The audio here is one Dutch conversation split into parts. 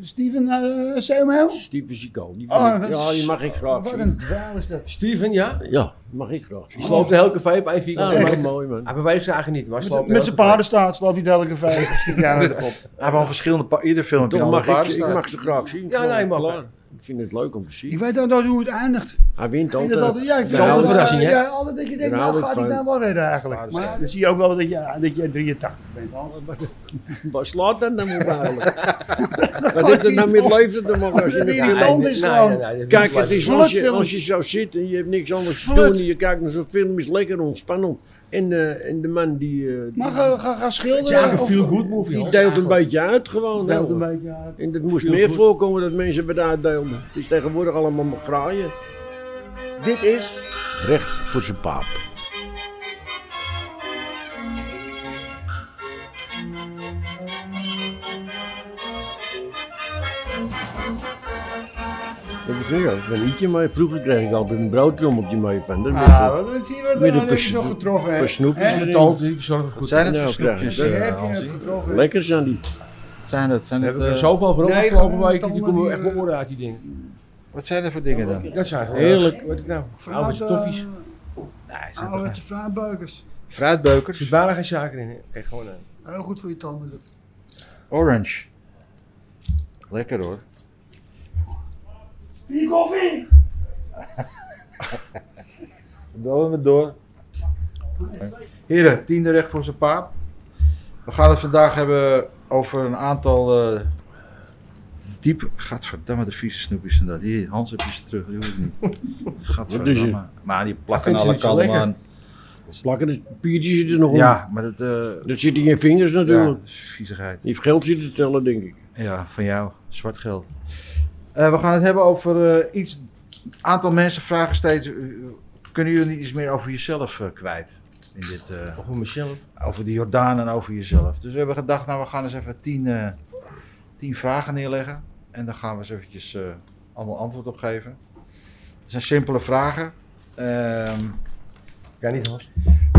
Steven eh Samuel? Steven Zico. Die Oh, vind ik- ja, wat- die mag ik graag Wat zien. een dwaal is dat. Steven, ja? Ja, die mag ik graag zien. Die sloopt elke vijf bij vier. Ja, keer. dat Echt. is mooi, man. Hij beweegt ze eigenlijk niet, maar Met, sloopt met zijn elke vijf. paardenstaart sloopt hij elke vijf. Stikt hij aan de kop. Hij heeft al verschillende, pa- ieder film heb je Toch al een mag paar ik, ik staat. mag ze graag zien. Ja, Gewoon, nee, mag. klaar. Ik vind het leuk om te Ik zien. weet ook nooit hoe het eindigt. Hij wint Ik vind het altijd, altijd. ja, ik vind Zo'n het altijd, verrassing, hè? ja, altijd dat je denkt, Daar nou hou ik gaat hij van. nou wel redden eigenlijk. Maar dan zie je ook wel dat je, dat je 83 bent. Waar slaat dat nou op eigenlijk? Wat heeft het nou met leven te maken? Als je Dat een is film- irritant. Nee, tand nee, is nee, gewoon. nee, nee, dat Kijk, niet waar. het is als je, Flutfilm. als je zo zit en je hebt niks anders te Flut. doen. en Je kijkt naar zo'n film, is lekker ontspannend. En, eh, en de man die, eh, die- Maar ga, ga, ga Het is eigenlijk schilderen. een of- feel-good movie. die hoor. deelt een beetje uit gewoon. Deelt een hè. beetje uit. En dat moest meer voorkomen dat mensen het uitdeelden. Het is tegenwoordig allemaal maar graaien. Dit is Recht voor zijn paap. Dat is weer een vanietje, maar vroeger kreeg ik altijd een broodtrommeltje mee van. Dat Ah, wat- wat zie je wat Met een dan heb pers- je zo getroffen, hè? paar snoepjes Hè? erin. Toont, die verzorgt het Wat goed. zijn het Nou, voor snoepjes? Daar krijg eh, heb je het Hansie? getroffen. Lekker zijn die. Wat zijn het? Zijn We het hebben er eh, zoveel voor nee, afgelopen gewoon weken. Die tanden komen die, echt mijn eh, oren uit, die dingen. wat zijn er voor dingen dan? Dat zijn gewoon- Heerlijk. Wat is het nou? Fruit, Oude toffies. eh, Nee, zijn er Ouderwetse fruitbeukers. Er fruitbeukers. zit bijna geen suiker in. hè. Kijk gewoon eh, aan. Heel goed voor je tanden. dat. Orange. Lekker hoor. Vier koffie! Bellen we door. Heren, tiende recht voor zijn paap. We gaan het vandaag hebben over een aantal eh diep... Gadverdamme, de vieze snoepjes en dat. Hier, Hans heb je ze terug, die hoef ik niet. Gadverdamme. Maar die plakken vindt ze alle niet zo kanten lekker. aan. Slakken de papiertjes zitten er nog Ja, maar dat... eh om. Dat zit in je vingers ja, natuurlijk. dat is viezigheid. Die heeft geld zitten tellen, denk ik. Ja, van jou. Zwart geld. Eh, we gaan het hebben over eh, iets... Een aantal mensen vragen steeds... eh, kunnen jullie niet iets meer over jezelf eh, kwijt? In dit... eh, Of voor mezelf. over de Jordaan en over jezelf. Dus we hebben gedacht, nou we gaan eens even tien, eh, tien vragen neerleggen. En daar gaan we eens eventjes eh, allemaal antwoord op geven. Het zijn simpele vragen. Ehm, Kan niet, Hans.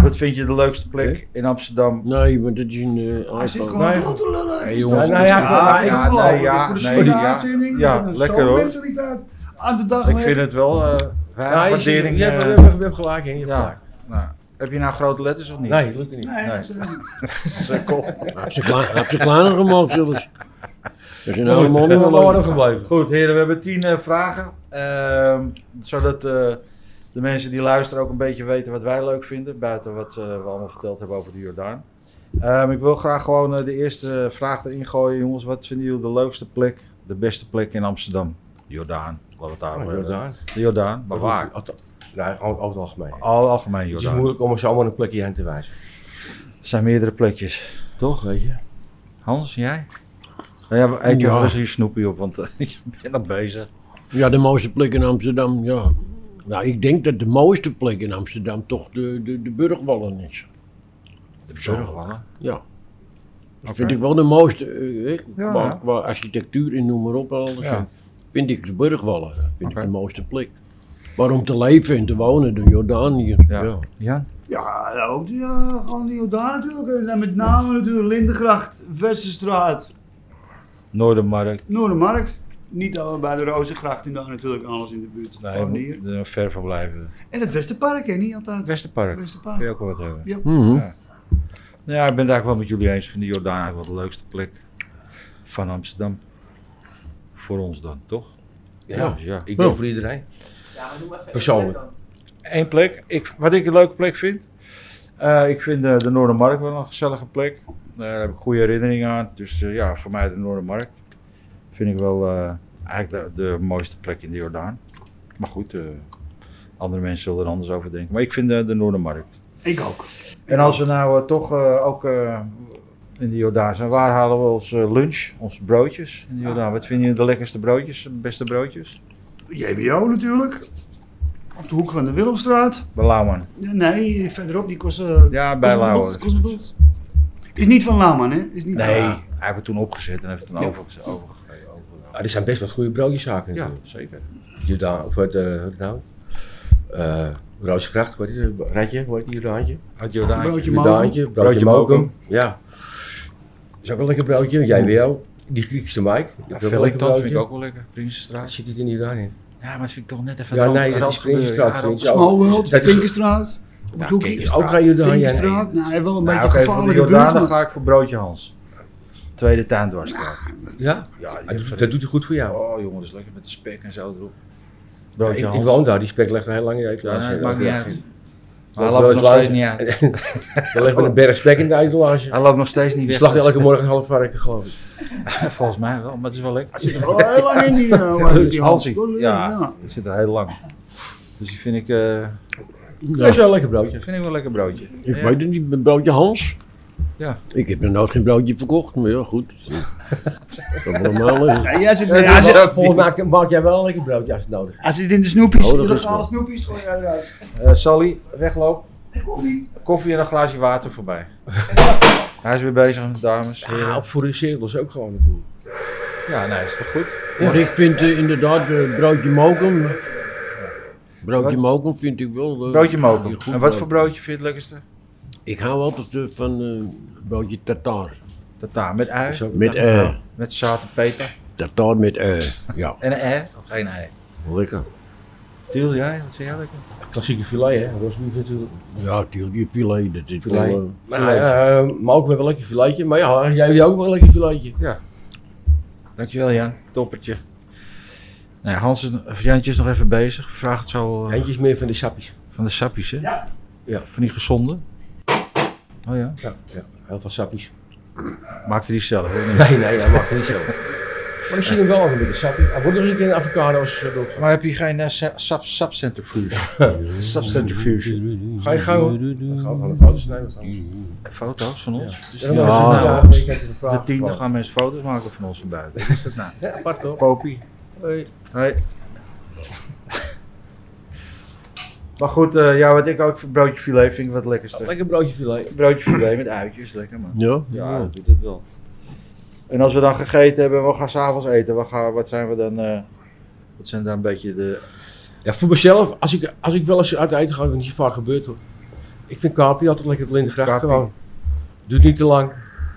wat vind je de leukste plek in Amsterdam? Nee, want dat is een eh, Hij zit iPhone. gewoon Nee. rond te lullen. Het Nee, is jongens, toch- Nou ja, ja, ik ja, geloof nee, het. ja, Voor de nee, spontane ja. uitzending, Ja, dat is lekker, zo'n hoor. mentaliteit. Aan de dag Ik vind het wel eh weinig Ja, Nou, je ziet- waardering. Je hebt- eh, je hebt je hebt gelijk, hè. Je hebt gelijk. ja, nou, heb je nou grote letters of niet? Nee, dat lukt er niet. Nou, Nee, Nee. dat is er niet. Sukkel. Hij heeft ze klaar- hij heeft ze kleiner gemaakt zelfs. Dat is een oude man. we hebben maar gewoon leuk. gebleven. Goed, heren, we hebben tien eh, vragen. Ehm, zodat eh, de mensen die luisteren ook een beetje weten wat wij leuk vinden. Buiten wat eh, we allemaal verteld hebben over de Jordaan. Ehm, ik wil graag gewoon eh, de eerste vraag erin gooien, jongens. Wat vinden jullie de leukste plek, de beste plek in Amsterdam? Jordaan, laten we het Ah, daar over hebben. De Jordaan, maar waar? Nee, over over het algemeen. Al algemeen Het is Jordaan. moeilijk om er zomaar een plekje heen te wijzen. Er zijn meerdere plekjes. Toch, weet je? Hans, jij? Nou ja, eet je Ja. wel eens hier snoepie op, want eh, je bent nog bezig. Ja, de mooiste plek in Amsterdam, ja. Nou, ik denk dat de mooiste plek in Amsterdam toch de, de, de Burgwallen is. De Zo. Burgwallen. Ja. Dat vind ik wel de mooiste, eh, eh, Ja. qua, qua architectuur en noem maar op. en Alles. Ja. Vind ik de Burgwallen, vind Oké. ik de mooiste plek. Maar om te leven en te wonen, de Jordaan hier. Ja. Ja. Jan? Ja, ook die, ja, gewoon die Jordaan natuurlijk. En dan met name natuurlijk Lindengracht, Westerstraat, Noordermarkt. Noordermarkt. Niet al- bij de Rozengracht en daar natuurlijk alles in de buurt. Nee, Gewoon niet. hier. eh, ver van blijven. En het Westerpark, hè? Niet altijd. Westerpark. Westerpark. Kun je ook wel wat hebben. Mhm. Ja. Nou ja, ik ben het eigenlijk wel met jullie eens. Ik vind de Jordaan eigenlijk wel de leukste plek van Amsterdam. Voor ons dan, toch? Ja, Ja. Dus ja. ik Ja. denk voor iedereen. Persoonlijk. Eén plek. Ik, wat ik een leuke plek vind. eh, ik vind eh, de Noordermarkt wel een gezellige plek. Daar heb ik goede herinneringen aan. Dus eh, ja, voor mij de Noordermarkt. Vind ik wel eh, eigenlijk de, de mooiste plek in de Jordaan. Maar goed, eh, andere mensen zullen er anders over denken. Maar ik vind eh, de Noordermarkt. Ik ook. En als we nou eh, toch eh, ook eh, in de Jordaan zijn, waar halen we ons eh, lunch, onze broodjes in de Jordaan? Wat vinden jullie de lekkerste broodjes, de beste broodjes? JWO natuurlijk. Op de hoek van de Willemstraat. Bij Lauwman. Nee, verderop, die kost... eh, Ja, Ah, bij Lauwman. Cosmopolis, Cosmopolis. Is niet van Laman, hè? Is niet Nee, Van hij heeft het toen opgezet en heeft het toen Ja. overgezet. overgegeven, overgenomen. Ah, er zijn best wat goede broodjeszaken Ja, natuurlijk. zeker. Jordaan, of wat, eh, wat nou? Eh Roosgracht, wat is het? Ratje, wat is het? Jordaantje? Uit Jordaan. Broodje Jordaantje, broodje, Broodje mokum. Ja. Is ook wel een lekker broodje, jij wel. die Griekse Mike. die Ja, heb wel lekker Vellington vind ik broodje. ook wel lekker. Prinsenstraat. Zit dit er niet aan in? Ja, maar dat vind ik toch net even Ja, het nee, rand- dat rand is Prinsenstraat, gebeuren. Ja, rand- vind ik. Smallweld, dat- Vinkenstraat. op Ja, het hoekje. Kinkerstraat. Ook ga je daar heen. Vinkenstraat. Nou, hij heeft wel een Nou, beetje oké, een voor de gevaarlijke Jordaan buurt. dan maar- ga ik voor Broodje Hans. Tweede Tuindoorstraat. Ja? Ja, die Dat vind doet- ik- Ah, Dat doet hij goed voor jou. Oh jongen, dat is lekker met de spek en zo erop. Ja, Broodje ik, Hans. ik woon daar, die spek ligt er heel lang in de Ja, etalage. nee, het maakt niet uit. Maar hij Dat loopt er broodje nog steeds Hans. niet uit. Er ligt met een berg spek in de etalage. Hij loopt nog steeds niet Die weg. slacht Dat is- elke morgen een half varken, geloof ik. Volgens mij wel, maar het is wel lekker. Zit er wel heel lang Oh, in die, eh, waar die Hansie. Hansie. Ja, die zit er heel lang. Dus die vind ik, eh, Dat is Nou, wel een lekker broodje. vind ik wel een lekker broodje. ik Ja. weet het niet, met broodje Hans. Ja. Ik heb nog nooit geen broodje verkocht, maar ja, goed. Dat is normaal. hè. Ja, jij zit, Ja, hij dat zit, wel- Volgens mij maakt- maak jij wel een lekker broodje als het nodig hij zit in de snoepjes. Oh, dat is Illegale wel. snoepjes gooi je eruit. Eh, Sally, wegloop. En koffie. Koffie en een glaasje water voorbij. Hij is weer bezig, dames. is. heren. Ja, voor de cirkels ook gewoon naartoe. Ja, nee, is toch goed? Maar ik vind eh, inderdaad eh, broodje mokum. Broodje Wat? mokum vind ik wel. eh, Broodje mokum. goed En wat brood. voor broodje vind je het lekkerste? Ik hou altijd eh, van eh, broodje tartaar. Tata, met ui, Zo. Met eh. met zout en peper. Tartaar met eh. Ja, En een ei, of geen ei. lekker. Tiel, jij, wat vind jij lekker? Klassieke filet, hè? Rosbief natuurlijk. Ja, tuurlijk, je filet. Dat is Filet. wel, eh, Maar, Oh, eh, maar ook met een lekker filetje. Maar ja, jij hebt ook wel een lekker filetje. Dankjewel Jan, toppertje. Nou, ja, Hans is, of Jantje is nog even bezig. Vraag het zo eh, Eentje is meer van de sappies. van de sappies, hè? Ja. ja. Van die gezonde. Oh ja. Ja, ja. heel veel sappies. Maakte die zelf. hoor. Nee, nee, dat mag niet zo. Maar ik zie hem wel even met de sappie. Hij wordt nog een keer een avocado's. eh, door. Maar heb je geen eh, sa- sap sapcentrifuge? eh, sapcentrifuge. Ga je gauw. Dan gaan we gewoon een foto's nemen van ons. Foto's van ons? Dus Ja. dan Ja. is het, ja, dan kijk je de vraag. De tiende gaan mensen foto's maken van ons van buiten. Wat is dat nou? Ja, apart toch? Popie. Hoi. Hoi. Maar goed, eh, ja, wat ik ook voor broodje filet vind ik wat lekkerste. Lekker broodje filet. Broodje filet met uitjes, lekker man. ja, Ja, dat doet het wel. En als we dan gegeten hebben, we gaan s'avonds eten. We gaan, wat zijn we dan? eh, wat zijn dan een beetje de. Ja, voor mezelf, als ik, als ik wel eens uit eten ga, wat niet zo vaak gebeurt hoor. Ik vind Capri altijd lekker het Lindengracht Capri. gewoon. Duurt niet te lang.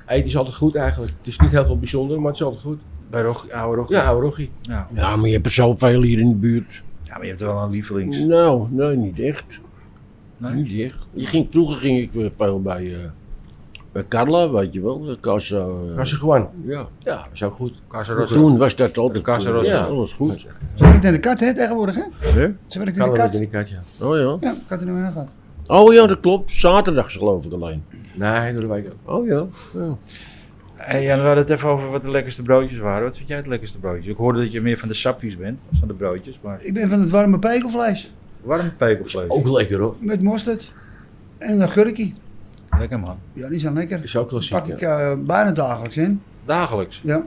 Eten is altijd goed eigenlijk. Het is niet heel veel bijzonder, maar het is altijd goed. Bij Rog, oude Rog. Ja, oude rochie. Ja. Ja, maar je hebt er zoveel hier in de buurt. Ja, maar je hebt wel een lievelings. Nou, nee, niet echt. Nee? Niet echt. Je ging, vroeger ging ik weer veel bij, eh bij Carla, weet je wel. de Casa. eh, Was er gewoon. ja. Ja, dat is ook goed. Casarosa. Toen was dat altijd. eh, De Casa Rosa. Ja, alles goed. Ze werkt in de kat, hè, tegenwoordig, hè? Hè? Ze werkt in Kan de dat in kat. de kat, ja. Oh ja. Ja, kat in de aan gaat. Oh ja, dat klopt. Zaterdags geloof ik alleen. Nee, door de wijk ook. Oh ja. ja. Hey, Jan, we hadden het even over wat de lekkerste broodjes waren. Wat vind jij het lekkerste broodje? Ik hoorde dat je meer van de sapjes bent, als van de broodjes. Maar Ik ben van het warme pekelvlees. warm pekelvlees. Oh. Ook lekker hoor. Met mosterd. En een agurkje. Lekker man. Ja, die zijn lekker. Is ook Pak klassiek. ik Ja. eh, bijna dagelijks in. Dagelijks. Ja.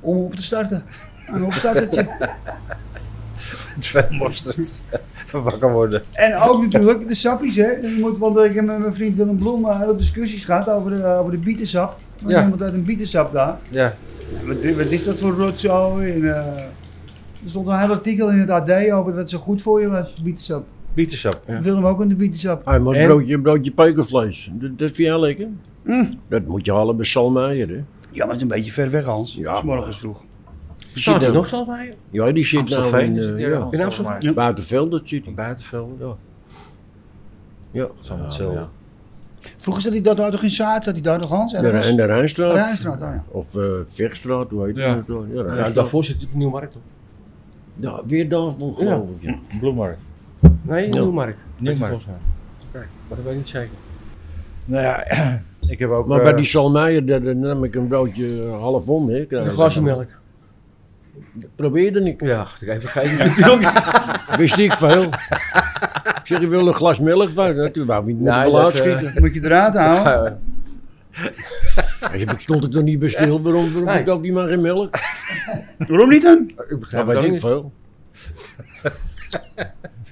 Om op te starten. Een opstartertje. Het is veel mosterd. Van wakker worden. en ook natuurlijk de sappies, hè. Dus je moet, want ik heb met mijn vriend Willem Bloem eh, hele discussies gehad over de, eh, over de bietensap. Want Ja. iemand uit een bietensap daar. Ja. Wat, wat is dat voor rotzooi? En, eh, er stond een heel artikel in het AD over dat het zo goed voor je was, bietensap. Bietensap. Ja. Willem ook in de bietensap. Hey, maar En? broodje, broodje pekelvlees, dat, dat vind jij lekker? Mm. Dat moet je halen bij Salmeijer, hè? Ja, maar het is een beetje ver weg, Hans. Ja, Ja, morgens vroeg. Staat zit er er- nog zo bij? Ja, die zit nou Amstelveen in, is het eh, hier ja, dan, In volgens mij. Amstelveen? Buitenveld, dat zit hij. Buitenvelden. Dat Ja. is allemaal hetzelfde. ja. Vroeger zat hij dat daar toch in Zaad? Zat hij daar nog, Hans? De, en de Rijnstraat. Rijnstraat, oh ja. Of eh Vechtstraat, hoe heet Ja. dat? Ja, Ja, Rijnstraat. daarvoor zit het op Nieuwmarkt toch? Ja, weer daarvoor geloof ik. Ja. Bloemarkt. Nee, Ja. Nieuwmarkt. Nieuwmarkt. Oké, maar dat weet ik niet zeker. Nou ja, ik heb ook... Maar eh, bij die Salmeijer, daar, daar nam ik een broodje eh, half om, hè? krijg Een ik glasje dan. melk. Probeerde ik. Ja, ik even kijken. Wist ik veel. ik zeg, je wil een glas melk van? Natuurlijk, wou ik niet Nee, nee, dat, laat eh, schieten. Moet je eruit houden. Ja. Ja, ik stond ik er niet bij stil, waarom, waarom Nee. ik ook niet maar geen melk? Waarom niet dan? Ik Ja, begrijp het weet ook ik niet. veel.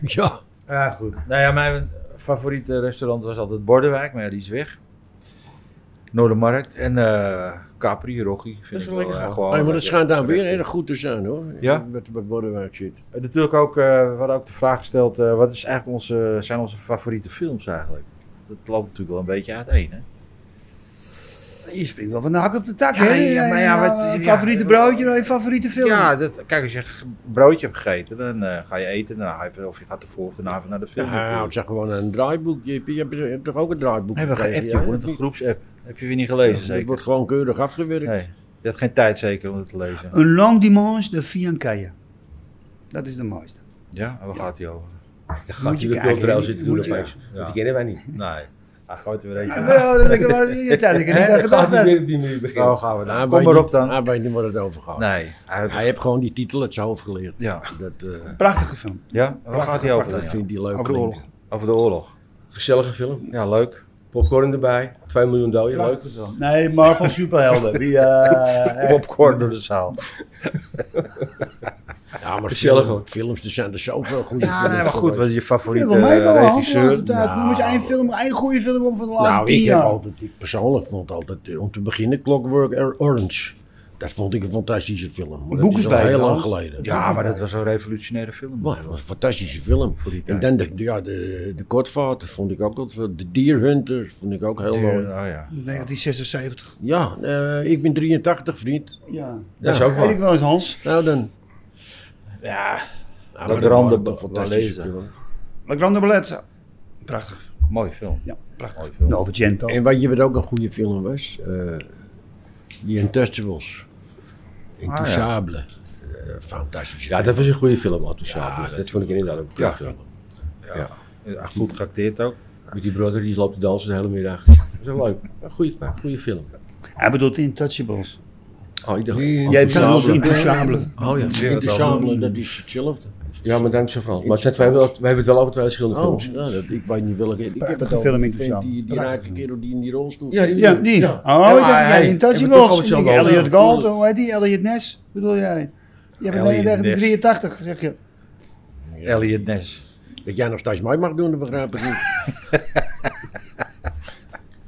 ja. Ja, goed. Nou ja, mijn favoriete restaurant was altijd Bordewijk, maar ja, die is weg. Noordermarkt en eh Capri, Rocky. Vind Dat is ik wel wel lekker eh, gewoon. gewoon. Hey, maar dat lekker. schijnt daar weer erg goed te zijn hoor. Ja? Wat er bij Borderwijk zit. En Natuurlijk ook, eh, we hadden ook de vraag gesteld, eh, wat is eigenlijk onze, zijn onze favoriete films eigenlijk? Dat loopt natuurlijk wel een beetje uiteen, hè? Je springt wel van de hak op de tak, Ja, hè? ja, maar ja, Je wat- je ja. favoriete broodje naar je favoriete film. Ja, dat, kijk, als je g- broodje hebt gegeten, dan eh, ga je eten. Dan ga je, of je gaat ervoor of daarna even naar de film. Ja, nou, zeg gewoon een draaiboek. Je hebt, je hebt- je hebt toch ook een draaiboek? We hebben gekregen, geappt, ja? jongen. Een groepsapp. Heb je weer niet gelezen, Het zeker? wordt gewoon keurig afgewerkt. Nee. Je had geen tijd zeker om het te lezen. Een lang dimanche de Fiancaille. Dat is de mooiste. Ja, en waar gaat hij over? Dan gaat je je de kijken, cultureel moet- zitten moet doen je- opeens. Ja. Want die kennen wij niet. Nee. Hij gooit er weer eentje. aan. Nou, dat ik wel je tijd ik er niet aan Het gaat gedacht niet heb. meer op die manier beginnen. Nou, gaan we Hij dan. Kom weet maar niet- op dan. Hij weet niet waar het over gaat. Nee. Hij- Hij heeft gewoon die titel uit zijn hoofd geleerd. Ja. Dat, eh, Prachtige film. Ja, en waar gaat hij over dan? dat ja? vindt hij leuk. Over de oorlog. Over de oorlog. Gezellige film. Ja, leuk. Popcorn erbij. 2 miljoen doden. Leuk. Leuk. Nee, Marvel superhelden. Die, eh, Popcorn door de zaal. Ja, maar Gezellig, film- hoor. films, er zijn er zoveel goede Ja, films nee, maar goed. geweest. Wat is je Ik vind favoriete het wel meevallen, eh, Hans, de laatste regisseur? tijd. Noem eens Nou. één film, één goede film op van de laatste Nou, tien ik heb jaar. altijd, ik persoonlijk vond altijd, eh, om te beginnen, Clockwork Orange. Dat vond ik een fantastische film. Maar Boek dat is is al bij heel lang trouwens. geleden. Nou, Ja, maar dat was zo'n revolutionaire film. Maar het was een fantastische film. Voor die tijd. En dan de, de- ja, de, de Godfather vond ik ook dat De Deer Hunter vond ik ook heel mooi. Oh ja. 1976. Ja, eh, ik ben 83, vriend. Ja. Dat is ook Weet wel. ik wel eens, Hans. Nou dan. Ah, Ja, Ja, Grande Ba- Baleza. film. La Grande Bellezza. Prachtig. mooi film. Ja, prachtig. Nou, Mooi film. Oh. Novecento. En wat je wat ook een goede film was, eh The Ah, Untouchables. Intouchable. Eh, fantastische Ja, dat was een goede film, Atto Ja, ja, Dat dat vond ik inderdaad ook een Ja. goede film. Ja, goed geacteerd ook. Met die brother, die loopt te dansen de hele middag. Dat is wel leuk. Een goede, een goede film. Hij bedoelt Intouchables. Oh, ik dacht... Jij hebt Antouchable. zelfs Intouchables. Oh ja. Intouchable, dat is hetzelfde. Ja, maar dank je Frans. Maar het zijn twee, wel- we hebben het wel over twee verschillende Oh, films. ja, dat, ik weet niet welke. Ik heb het Prachtige over film die Intouchable. vent Die, die Prachtige raakte kerel die in die rolstoel Ja, die- Ja, die. Ja. Oh, ik dacht, jij Ja, hij- hij bedoelt ook Intouchables. hetzelfde. Elliot Ja, Gold, tuurlijk. hoe heet die? Elliot Ness, bedoel jij? Ja, van Elliot 1983, zeg je. Elliot Ness. Dat jij nog steeds mij mag doen, dat begrijp ik niet.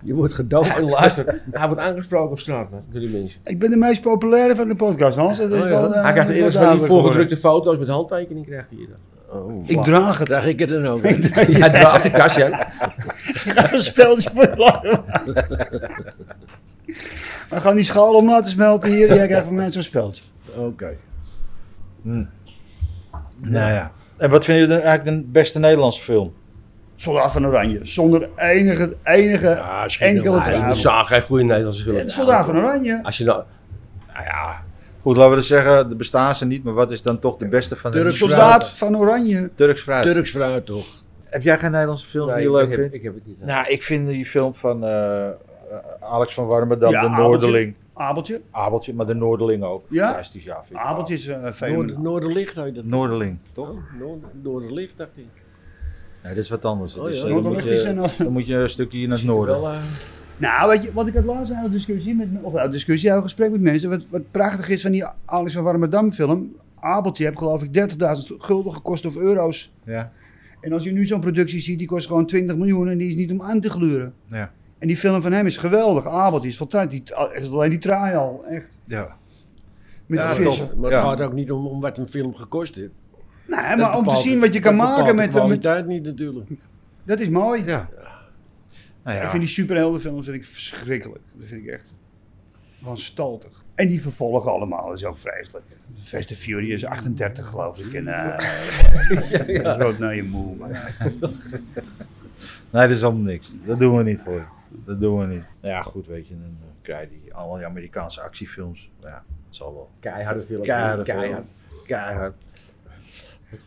je wordt gedood. En luister, hij wordt aangesproken op straat man, door die mensen. Ik ben de meest populaire van de podcast, Hans. Dat is Oh, ja. wel, eh, Hij krijgt wel eerst van die duidelijk voorgedrukte foto's met handtekening krijgt hij hier dan. geworden. Ik draag het. Krijg ik het dan ook? Hij draagt de kast, ja. een speeltje voor lachen. We gaan die schaal om laten smelten hier. Jij krijgt van mij zo'n speeltje. Oké. Nou ja. En wat vinden jullie eigenlijk de beste Nederlandse film? Soldaat van Oranje. Zonder enige, enige Ja, schiet enkele hem. Hij is twijfel. een zaag, geen goede Nederlandse film. Het Soldaat van Oranje. Als je nou... Goed, laten we dus zeggen, er bestaan ze niet, maar wat is dan toch de beste van de Turks Turks fruit. Soldaat van Oranje. Turks fruit. Turks fruit toch? Heb jij geen Nederlandse film die je ik leuk heb- vindt? Ik heb het niet. Nou, ik vind die film van eh, eh, Alex van Warmerdam, Ja, De Abeltje. Noorderling. Abeltje. Abeltje, maar De Noorderling ook. Ja? Fantastisch, ja. Vind ik Abeltje is eh fenomenaal. Noord, Noorderlicht heet dat. Noorderling, toch? Oh, Noord- Noorderlicht dacht ik. Nee, dat is wat anders. Dat Oh, is, ja. eh, dan, moet Noorderlicht is je, een- dan moet je een stukje hier naar het noorden. Wel, eh, Nou, weet je, wat ik het laatst aan de discussie met, of aan de discussie, aan een gesprek met mensen, wat, wat prachtig is van die Alex van Warmerdam film. Abeltje heb geloof ik 30.000 gulden gekost of euro's. Ja. En als je nu zo'n productie ziet, die kost gewoon 20 miljoen en die is niet om aan te gluren. Ja. En die film van hem is geweldig. Abeltje is fantastisch. Die, is alleen die traai al, echt. ja. Met Ja, de vissen. Maar het Ja. gaat ook niet om, om wat een film gekost heeft. Nee, Dat maar om te bepaalt- zien wat je dat kan bepaalt maken de met, met... kwaliteit niet natuurlijk. Dat is mooi. Ja. Nou ja. Ik vind die superheldenfilms vind ik verschrikkelijk. Dat vind ik echt wanstaltig. En die vervolgen allemaal, dat is ook vreselijk. Fast and Furious 38 geloof ik. En, eh Rood naar je moe. maar- Nee, dat is allemaal niks. Dat doen we niet voor je. Dat doen we niet. Nou ja, goed, weet je. Dan eh, krijg je die, allemaal die Amerikaanse actiefilms. Ja, het zal wel. Keiharde film. Keihard. Keihard. Keihard.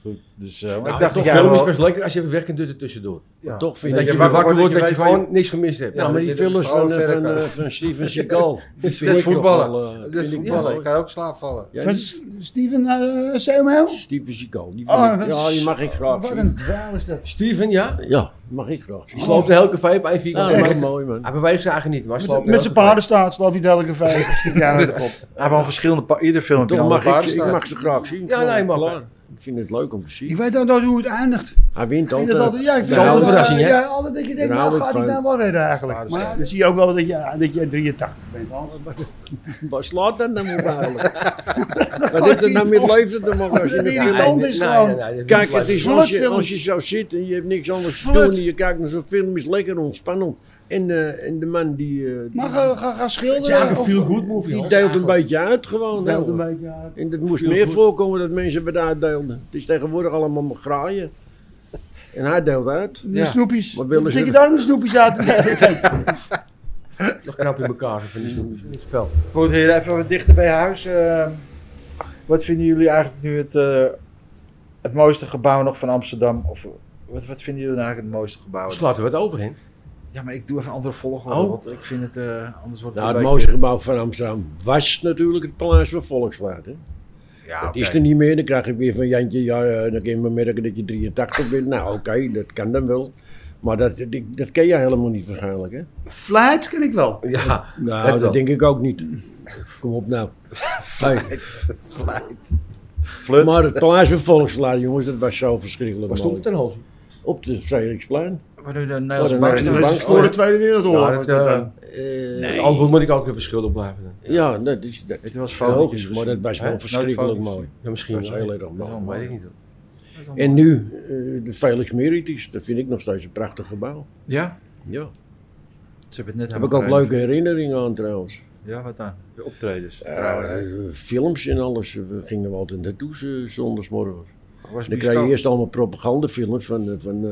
Goed, dus... eh, maar Nou, ik ik dacht, toch dat jij film is wel- best lekker als je even weg kunt doen er tussendoor. Ja. Toch vind Dat, ik je je wakker, wakker wordt dat wordt, je dat je gewoon niks gemist hebt. Ja, maar die dat je films de vrouwen van, eh, van, verder eh, kan. van Steven Seagal. die vind Dit ik toch voetballen. wel, eh, Dit vind ik voetballen. wel Ik leuk. kan ook slaapvallen. Ja, Van die- S- Steven eh Samuel? Steven Seagal. Die, vind Oh, ik- dat ja, is- die mag ik graag Wat zien. een dwaal is dat. Steven, ja? Ja, die mag ik graag zien. Die sloopt de hele café op één Ja, vierkante dat meter. is mooi man. Hij beweegt zijn eigen niet, maar hij sloopt Met, de hele zijn café. paardenstaat slaat hij elke vijf. Ja, dat klopt. Hij heeft al verschillende... pa- Ieder film heeft een Toch andere mag ik, ik paardenstaart. mag ze graag zien. Ja, Gewoon, nee, mag klaar. Ik vind het leuk om te zien. Ik weet ook nooit hoe het eindigt. Hij wint Ik vind het altijd, altijd. ja, ik vind Ja, altijd, een verrassing, hè? ja, altijd dat je denkt, Daar nou hou ik gaat hij van. nou wel redden eigenlijk. Maar dan zie je ook wel dat je, dat je 83 bent. Hans. Waar slaat dat nou op eigenlijk? Wat heeft er nou met leeftijd te maken als Die je niet irritant kan? tand is gewoon- Kijk, het is als je, Flutfilms. als je zo zit en je hebt niks anders te Flut. doen. Je kijkt naar zo'n film, is lekker ontspannend. En, eh, en de man die, eh, Maar ga, ga, ga Het is eigenlijk schilderen. een of- good movie. die deelt een beetje uit gewoon. Deelt een beetje uit. En dat moest meer voorkomen dat mensen wat uitdeelden. Het is tegenwoordig allemaal maar graaien. En hij deelt uit. De Ja. snoepjes. Wat willen ze Zit je er- daarom de snoepjes uit te kijken? nog knap in elkaar van die snoepjes in het spel. Goed, hier even wat dichter bij huis. Eh, wat vinden jullie eigenlijk nu het, eh, het mooiste gebouw nog van Amsterdam? Of wat, wat vinden jullie nou eigenlijk het mooiste gebouw? We Slaat er wat over in. Ja, maar ik doe even een andere volgorde, Oh. want ik vind het eh, anders wordt het Nou, een het beetje- mooiste gebouw van Amsterdam was natuurlijk het Paleis van Volkswaard. Hè? Ja, Dat oké. is er niet meer. Dan krijg ik weer van Jantje, ja, eh, dan kun je maar merken dat je 83 bent. Nou, oké, dat kan dan wel. Maar dat, dat, dat ken jij helemaal niet waarschijnlijk, hè? Fluit ken ik wel. Ja, Nou, Echt dat, wel. denk ik ook niet. Kom op nou. Hey, Flut. maar het Paleis van Volkswaard, jongens, dat was zo verschrikkelijk waar stond mooi. het dan al? Op de Frederiksplein. Waar nu de Nederlandse Oh, bank de Dat bank- was voor de Tweede Wereldoorlog. Ja, was dat, dat eh, dan. Eh, Het antwoord moet ik ook even schuldig blijven. dan. Ja, nou, dat is dat. Het was logisch, fotootjes maar dat was gezien. Hè? wel Nooit verschrikkelijk foto's. mooi. Ja, misschien Dat was wel. heel erg Dat mooi. weet ik niet. hoor. En nu, eh, de Felix Meritis, dat vind ik nog steeds een prachtig gebouw. Ja? Ja. Ze hebben het net Daar heb ik ook helemaal leuke herinneringen aan trouwens. geregeld. Ja, wat dan? De optredens. Eh, trouwens. films en alles. We gingen we altijd naartoe eh, zondagsmorgen. Was Dan krijg je bioscoop. eerst allemaal propagandafilms van, eh, van eh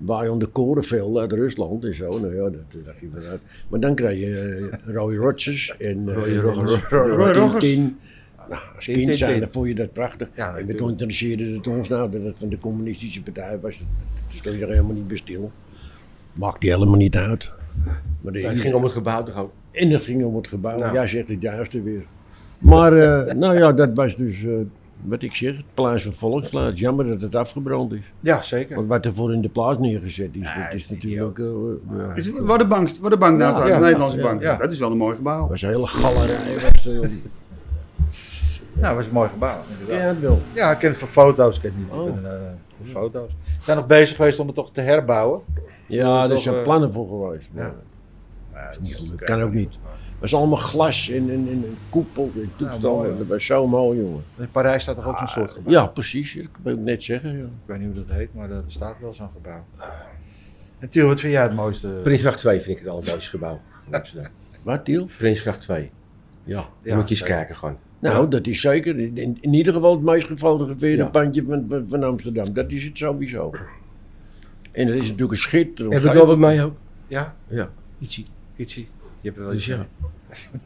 Bayon de Korenveld uit Rusland en zo. Nou ja, dat eh, dacht je vanuit. Maar dan krijg je eh, Roy Rogers en eh, en Roy Rogers. Tintin. Nou, als Tin, kind tin, zijn, tin. dan vond je dat prachtig. Ja, en natuurlijk. toen interesseerde het ons nou dat het van de communistische partij was. Dus stond je er helemaal niet bij stil. Maakt die helemaal niet uit. Maar de- Het ging om het gebouw toch ook. en dat ging om het gebouw. Nou. Jij zegt het juiste weer. Maar eh, nou ja, dat was dus eh, wat ik zeg, het Paleis van Volksplaats. Jammer dat het afgebrand is. Ja, zeker. Want wat er voor in de plaats neergezet is, Ja, dat is is natuurlijk... eh, ja. Is het- Waar de bank, waar de bank nou trouwens, ja, de Nederlandse ja, bank. ja. Dat is wel een mooi gebouw. was een hele galerij. Was er, Ja, het was een mooi gebouw. inderdaad. ja, dat wel. Ja, ik ken het van foto's. Ik ken het niet Oh. ik ken, eh, van foto's. Ze zijn nog bezig geweest om het toch te herbouwen. Ja, Toch, er zijn eh, plannen voor geweest. maar ja. dat kan ook niet. Het was allemaal glas en, en, en, en koepel en toestanden. mooi, hoor. dat was zo mooi, jongen. In Parijs staat toch ook zo'n soort gebouw? Ja, precies. Dat wil ik net zeggen. Ja. Ik weet niet hoe dat heet, maar er staat wel zo'n gebouw. En Tiel, wat vind jij het mooiste? Prinsgracht 2 vind ik het allermooiste gebouw. in Amsterdam. Wat, Tiel? Prinsgracht 2. Ja. Dan moet je eens kijken gewoon. Nou, dat is zeker. In, in- in ieder geval het meest gefotografeerde Ja. pandje van, van, van Amsterdam. Dat is het sowieso. En dat is natuurlijk een schitterend. Heb ik wel wat mee ook? Ja, Ja. Ietsie. ietsie. Je hebt er wel Dus iets ja. van.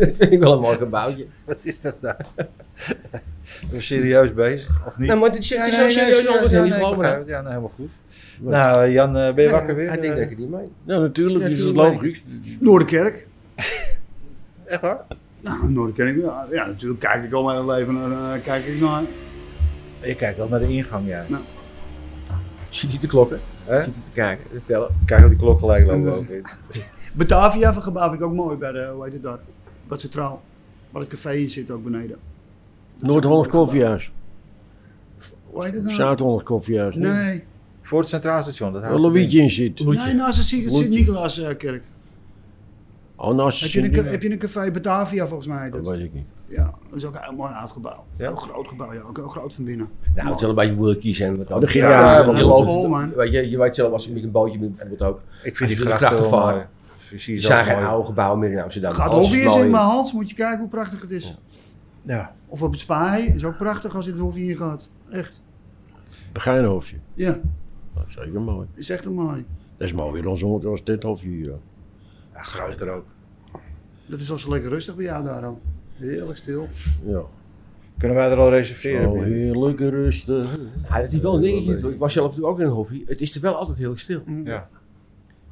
dat vind ik wel een mooi gebouwtje. Wat is dat nou? We zijn serieus bezig, of niet? Nou, maar dit is Ja, het is nee, wel nee, serieus ja, antwoord. ja, Ja, nee, ja, ik geloof me begrijp nou. het. Ja, nou, helemaal goed. Nou, Jan, eh, ben je wakker weer? Hij denkt Eh, dat ik het niet mee. Nou, natuurlijk Ja, is het tuurlijk. logisch. Noorderkerk. Echt waar? Nou, Noorderkerk. Ja, ja, natuurlijk kijk ik al mijn hele leven naar, eh, kijk ik naar. Je kijkt wel naar de ingang, ja. Zie niet de klokken. Hè? Zit niet te kijken, te tellen. Kijk op die klok gelijk lopen ook. Batavia vergebaaf ik ook mooi bij de, hoe heet het daar? Wat centraal. Waar het café in zit ook beneden. Noord-Hollands koffiehuis. Hoe heet het nou? Zuid-Hollands koffiehuis. Nee. Waar Nee. Voor het Centraal Station, dat houdt Louietje in zit. Nee, nou, naast het Sint- Loetje. Sint-Nicolaaskerk. Oh, eh, Heb, naast het je een Sint- ca- heb je een café Batavia volgens mij? heet Dat het. weet ik niet. Ja, dat is ook een heel mooi oud gebouw. Ja? Heel groot gebouw, ja. Ook heel groot van binnen. Nou, het zal een beetje moeilijk kiezen. hè, want Oh, dat ging Ja, ja, ja, wel je, heel heel vol. loopt, man. weet je, je weet zelf als je met een bootje bent bijvoorbeeld ook. Ik vind Die die grachten wel grachtenvaart. mooi. Je ziet Er ze zijn ook geen mooi. oude gebouwen meer in Amsterdam. Gaat Alles is Hofje eens mooi. in mijn Hans, moet je kijken hoe prachtig het is. Ja. Of op het Spaai, is ook prachtig als je het Hofje in gaat. Echt. Begijnhoofdje. Ja, Dat is zeker mooi. is echt een mooi. Dat is mooi weer ons, ons dit hofje hier. hoor. Ja, groter ook. Dat is als lekker rustig bij jou daar al. Heerlijk stil. Ja. Kunnen wij er al reserveren? Oh, heerlijk rustig. Ja, dat is wel een dingetje. Ik was zelf natuurlijk ook in een hobby. Het is er wel altijd heel stil. ja.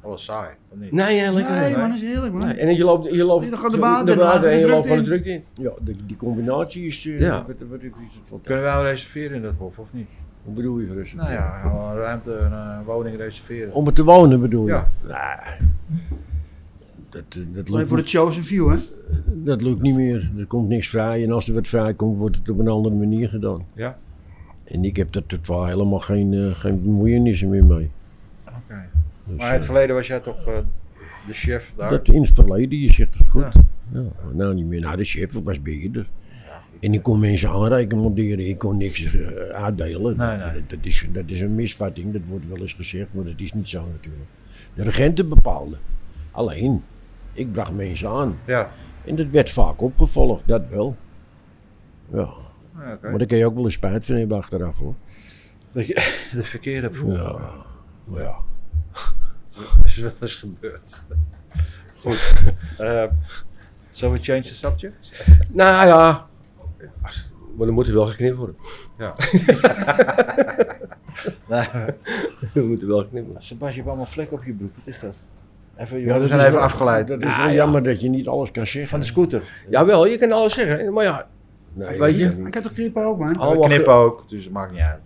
Alles saai, of niet? Nee, ja, lekker. Nee Nee. man, dat is heerlijk man. En je loopt, je loopt Nee, dan gaat de water in, water en je de loopt gewoon drukte de drukte in. Ja, die, die combinatie is... eh, Ja. Wat, wat is het fantastisch. Kunnen wij al reserveren in dat hof, of niet? Hoe bedoel je rustig? Nou ja, gewoon een ruimte, een eh, woning reserveren. Om er te wonen bedoel je? Ja. Nee. Dat, eh, dat, Alleen lukt, voor de Chosen View hè. dat lukt niet meer. Er komt niks vrij. En als er wat vrij komt, wordt het op een andere manier gedaan. Ja. En ik heb daar totaal helemaal geen, eh, geen bemoeienissen meer mee. Oké. Dus, Maar in het eh, verleden was jij toch eh, de chef daar? dat in het verleden, je zegt het goed. Ja. Ja. nou, niet meer. Nou, de chef was beheerder. En ik kon mensen aanreiken monteren, ik kon niks eh, uitdelen. Nee, dat, nee. dat is, dat is een misvatting, dat wordt wel eens gezegd, maar dat is niet zo natuurlijk. De regenten bepaalden. Alleen, ik bracht mensen aan. Ja. En dat werd vaak opgevolgd, dat wel. Ja, Ja, Ah, oké. maar daar kun je ook wel eens spijt van hebben achteraf hoor. Dat je de verkeerde voelt. Ja, maar ja. Dat is wel eens gebeurd. Goed. Eh zullen we change the subject? Nou ja, als- maar dan moet er wel geknipt worden. Dan moet er wel geknipt worden. Sebastian, je hebt allemaal vlekken op je broek. Wat is dat? Even, Ja, joh, we dat zijn is even wel- afgeleid. Ah, Het is wel jammer dat je niet alles kan van zeggen. de scooter. Jawel, je kan alles zeggen, maar ja. Nee, Weet je? Ik had toch knippen ook, man? We allemaal- knippen ook, dus het maakt niet uit.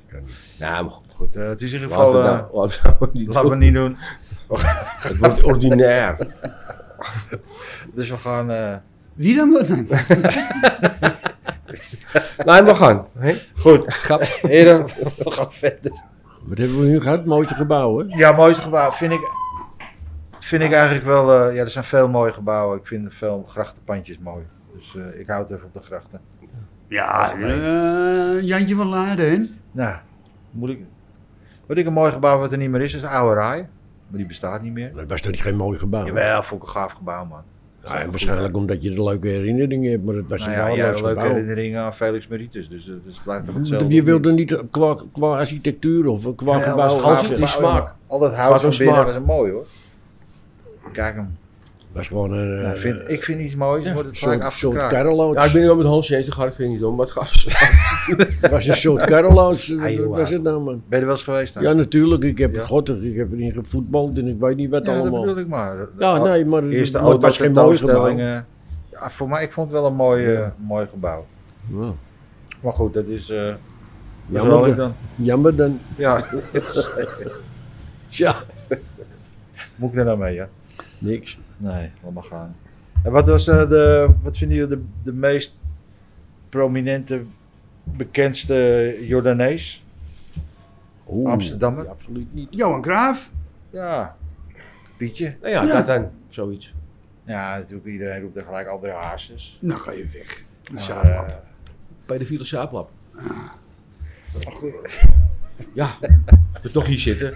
Nou, maar goed. Goed, eh, het is in ieder Laten geval... we eh, nou- laten we nou niet laten we doen. het niet doen. Het wordt ordinair. Dus we gaan... eh, Wie dan wel? Nee. Laat maar gaan. hè? Goed, Grap. heren, we gaan verder. Wat hebben we nu gehad? Mooiste gebouw hè? Ja, mooiste gebouw vind ik, vind ik eigenlijk wel... eh, ja, er zijn veel mooie gebouwen. Ik vind veel grachtenpandjes mooi. Dus eh, ik hou het even op de grachten. Ja, eh, Jantje van Laarden. Nou, moet ik... Wat ik een mooi gebouw wat er niet meer is, is de oude raai. Maar die bestaat niet meer. Dat was toch niet geen mooi gebouw? Jawel, vond ik een gaaf gebouw, man. Ja, en waarschijnlijk omdat je er leuke herinneringen hebt, maar het was Nou een ja, jij waardeloos hebt leuke gebouw. herinneringen aan Felix Meritus, dus eh, dus het blijft toch hetzelfde. Je wilde niet qua, qua architectuur of qua Ja, gebouw. dat was gaaf of- die gebouw, smaak. joh. Al dat Wat hout een van binnen smaak. was mooi, hoor. Kijk hem. was gewoon een eh, Nou, ik vind, ik vind iets moois, wordt het vaak soort, soort afgekraakt. karreloos. Ja, ik ben nu wel met Hans Jezus, dat vind ik niet om, maar het gaat. Het was een soort karreloos. Ah, joh, Wat was het nou man? Ben je er wel eens geweest dan? Ja, natuurlijk. Ik heb Ja. god, ik heb erin gevoetbald en ik weet niet wat Ja, dat allemaal. bedoel ik maar. Ja, nee, maar het- maar Eerste het was auto's, geen mooi gebouw. tentoonstellingen. Ja, voor mij, ik vond het wel een mooi, eh, mooi gebouw. Ja. Maar goed, dat is... eh dat Jammer, zal ik dan. dan. jammer dan. Ja, Tja, moet ik er nou mee, ja? niks. Nee, laat maar gaan. En wat, was, eh, de, wat vinden jullie de, de meest prominente, bekendste Jordanees? Oeh, Amsterdammer? Absoluut niet. Johan Graaf. Ja. Pietje? Nou ja, Ja. dat dan, zoiets. Ja, natuurlijk iedereen roept er gelijk André Hazes. Nou ga je weg. Maar, Zaterdag. eh, Pedofiele saaplap. Ja, als we toch hier zitten.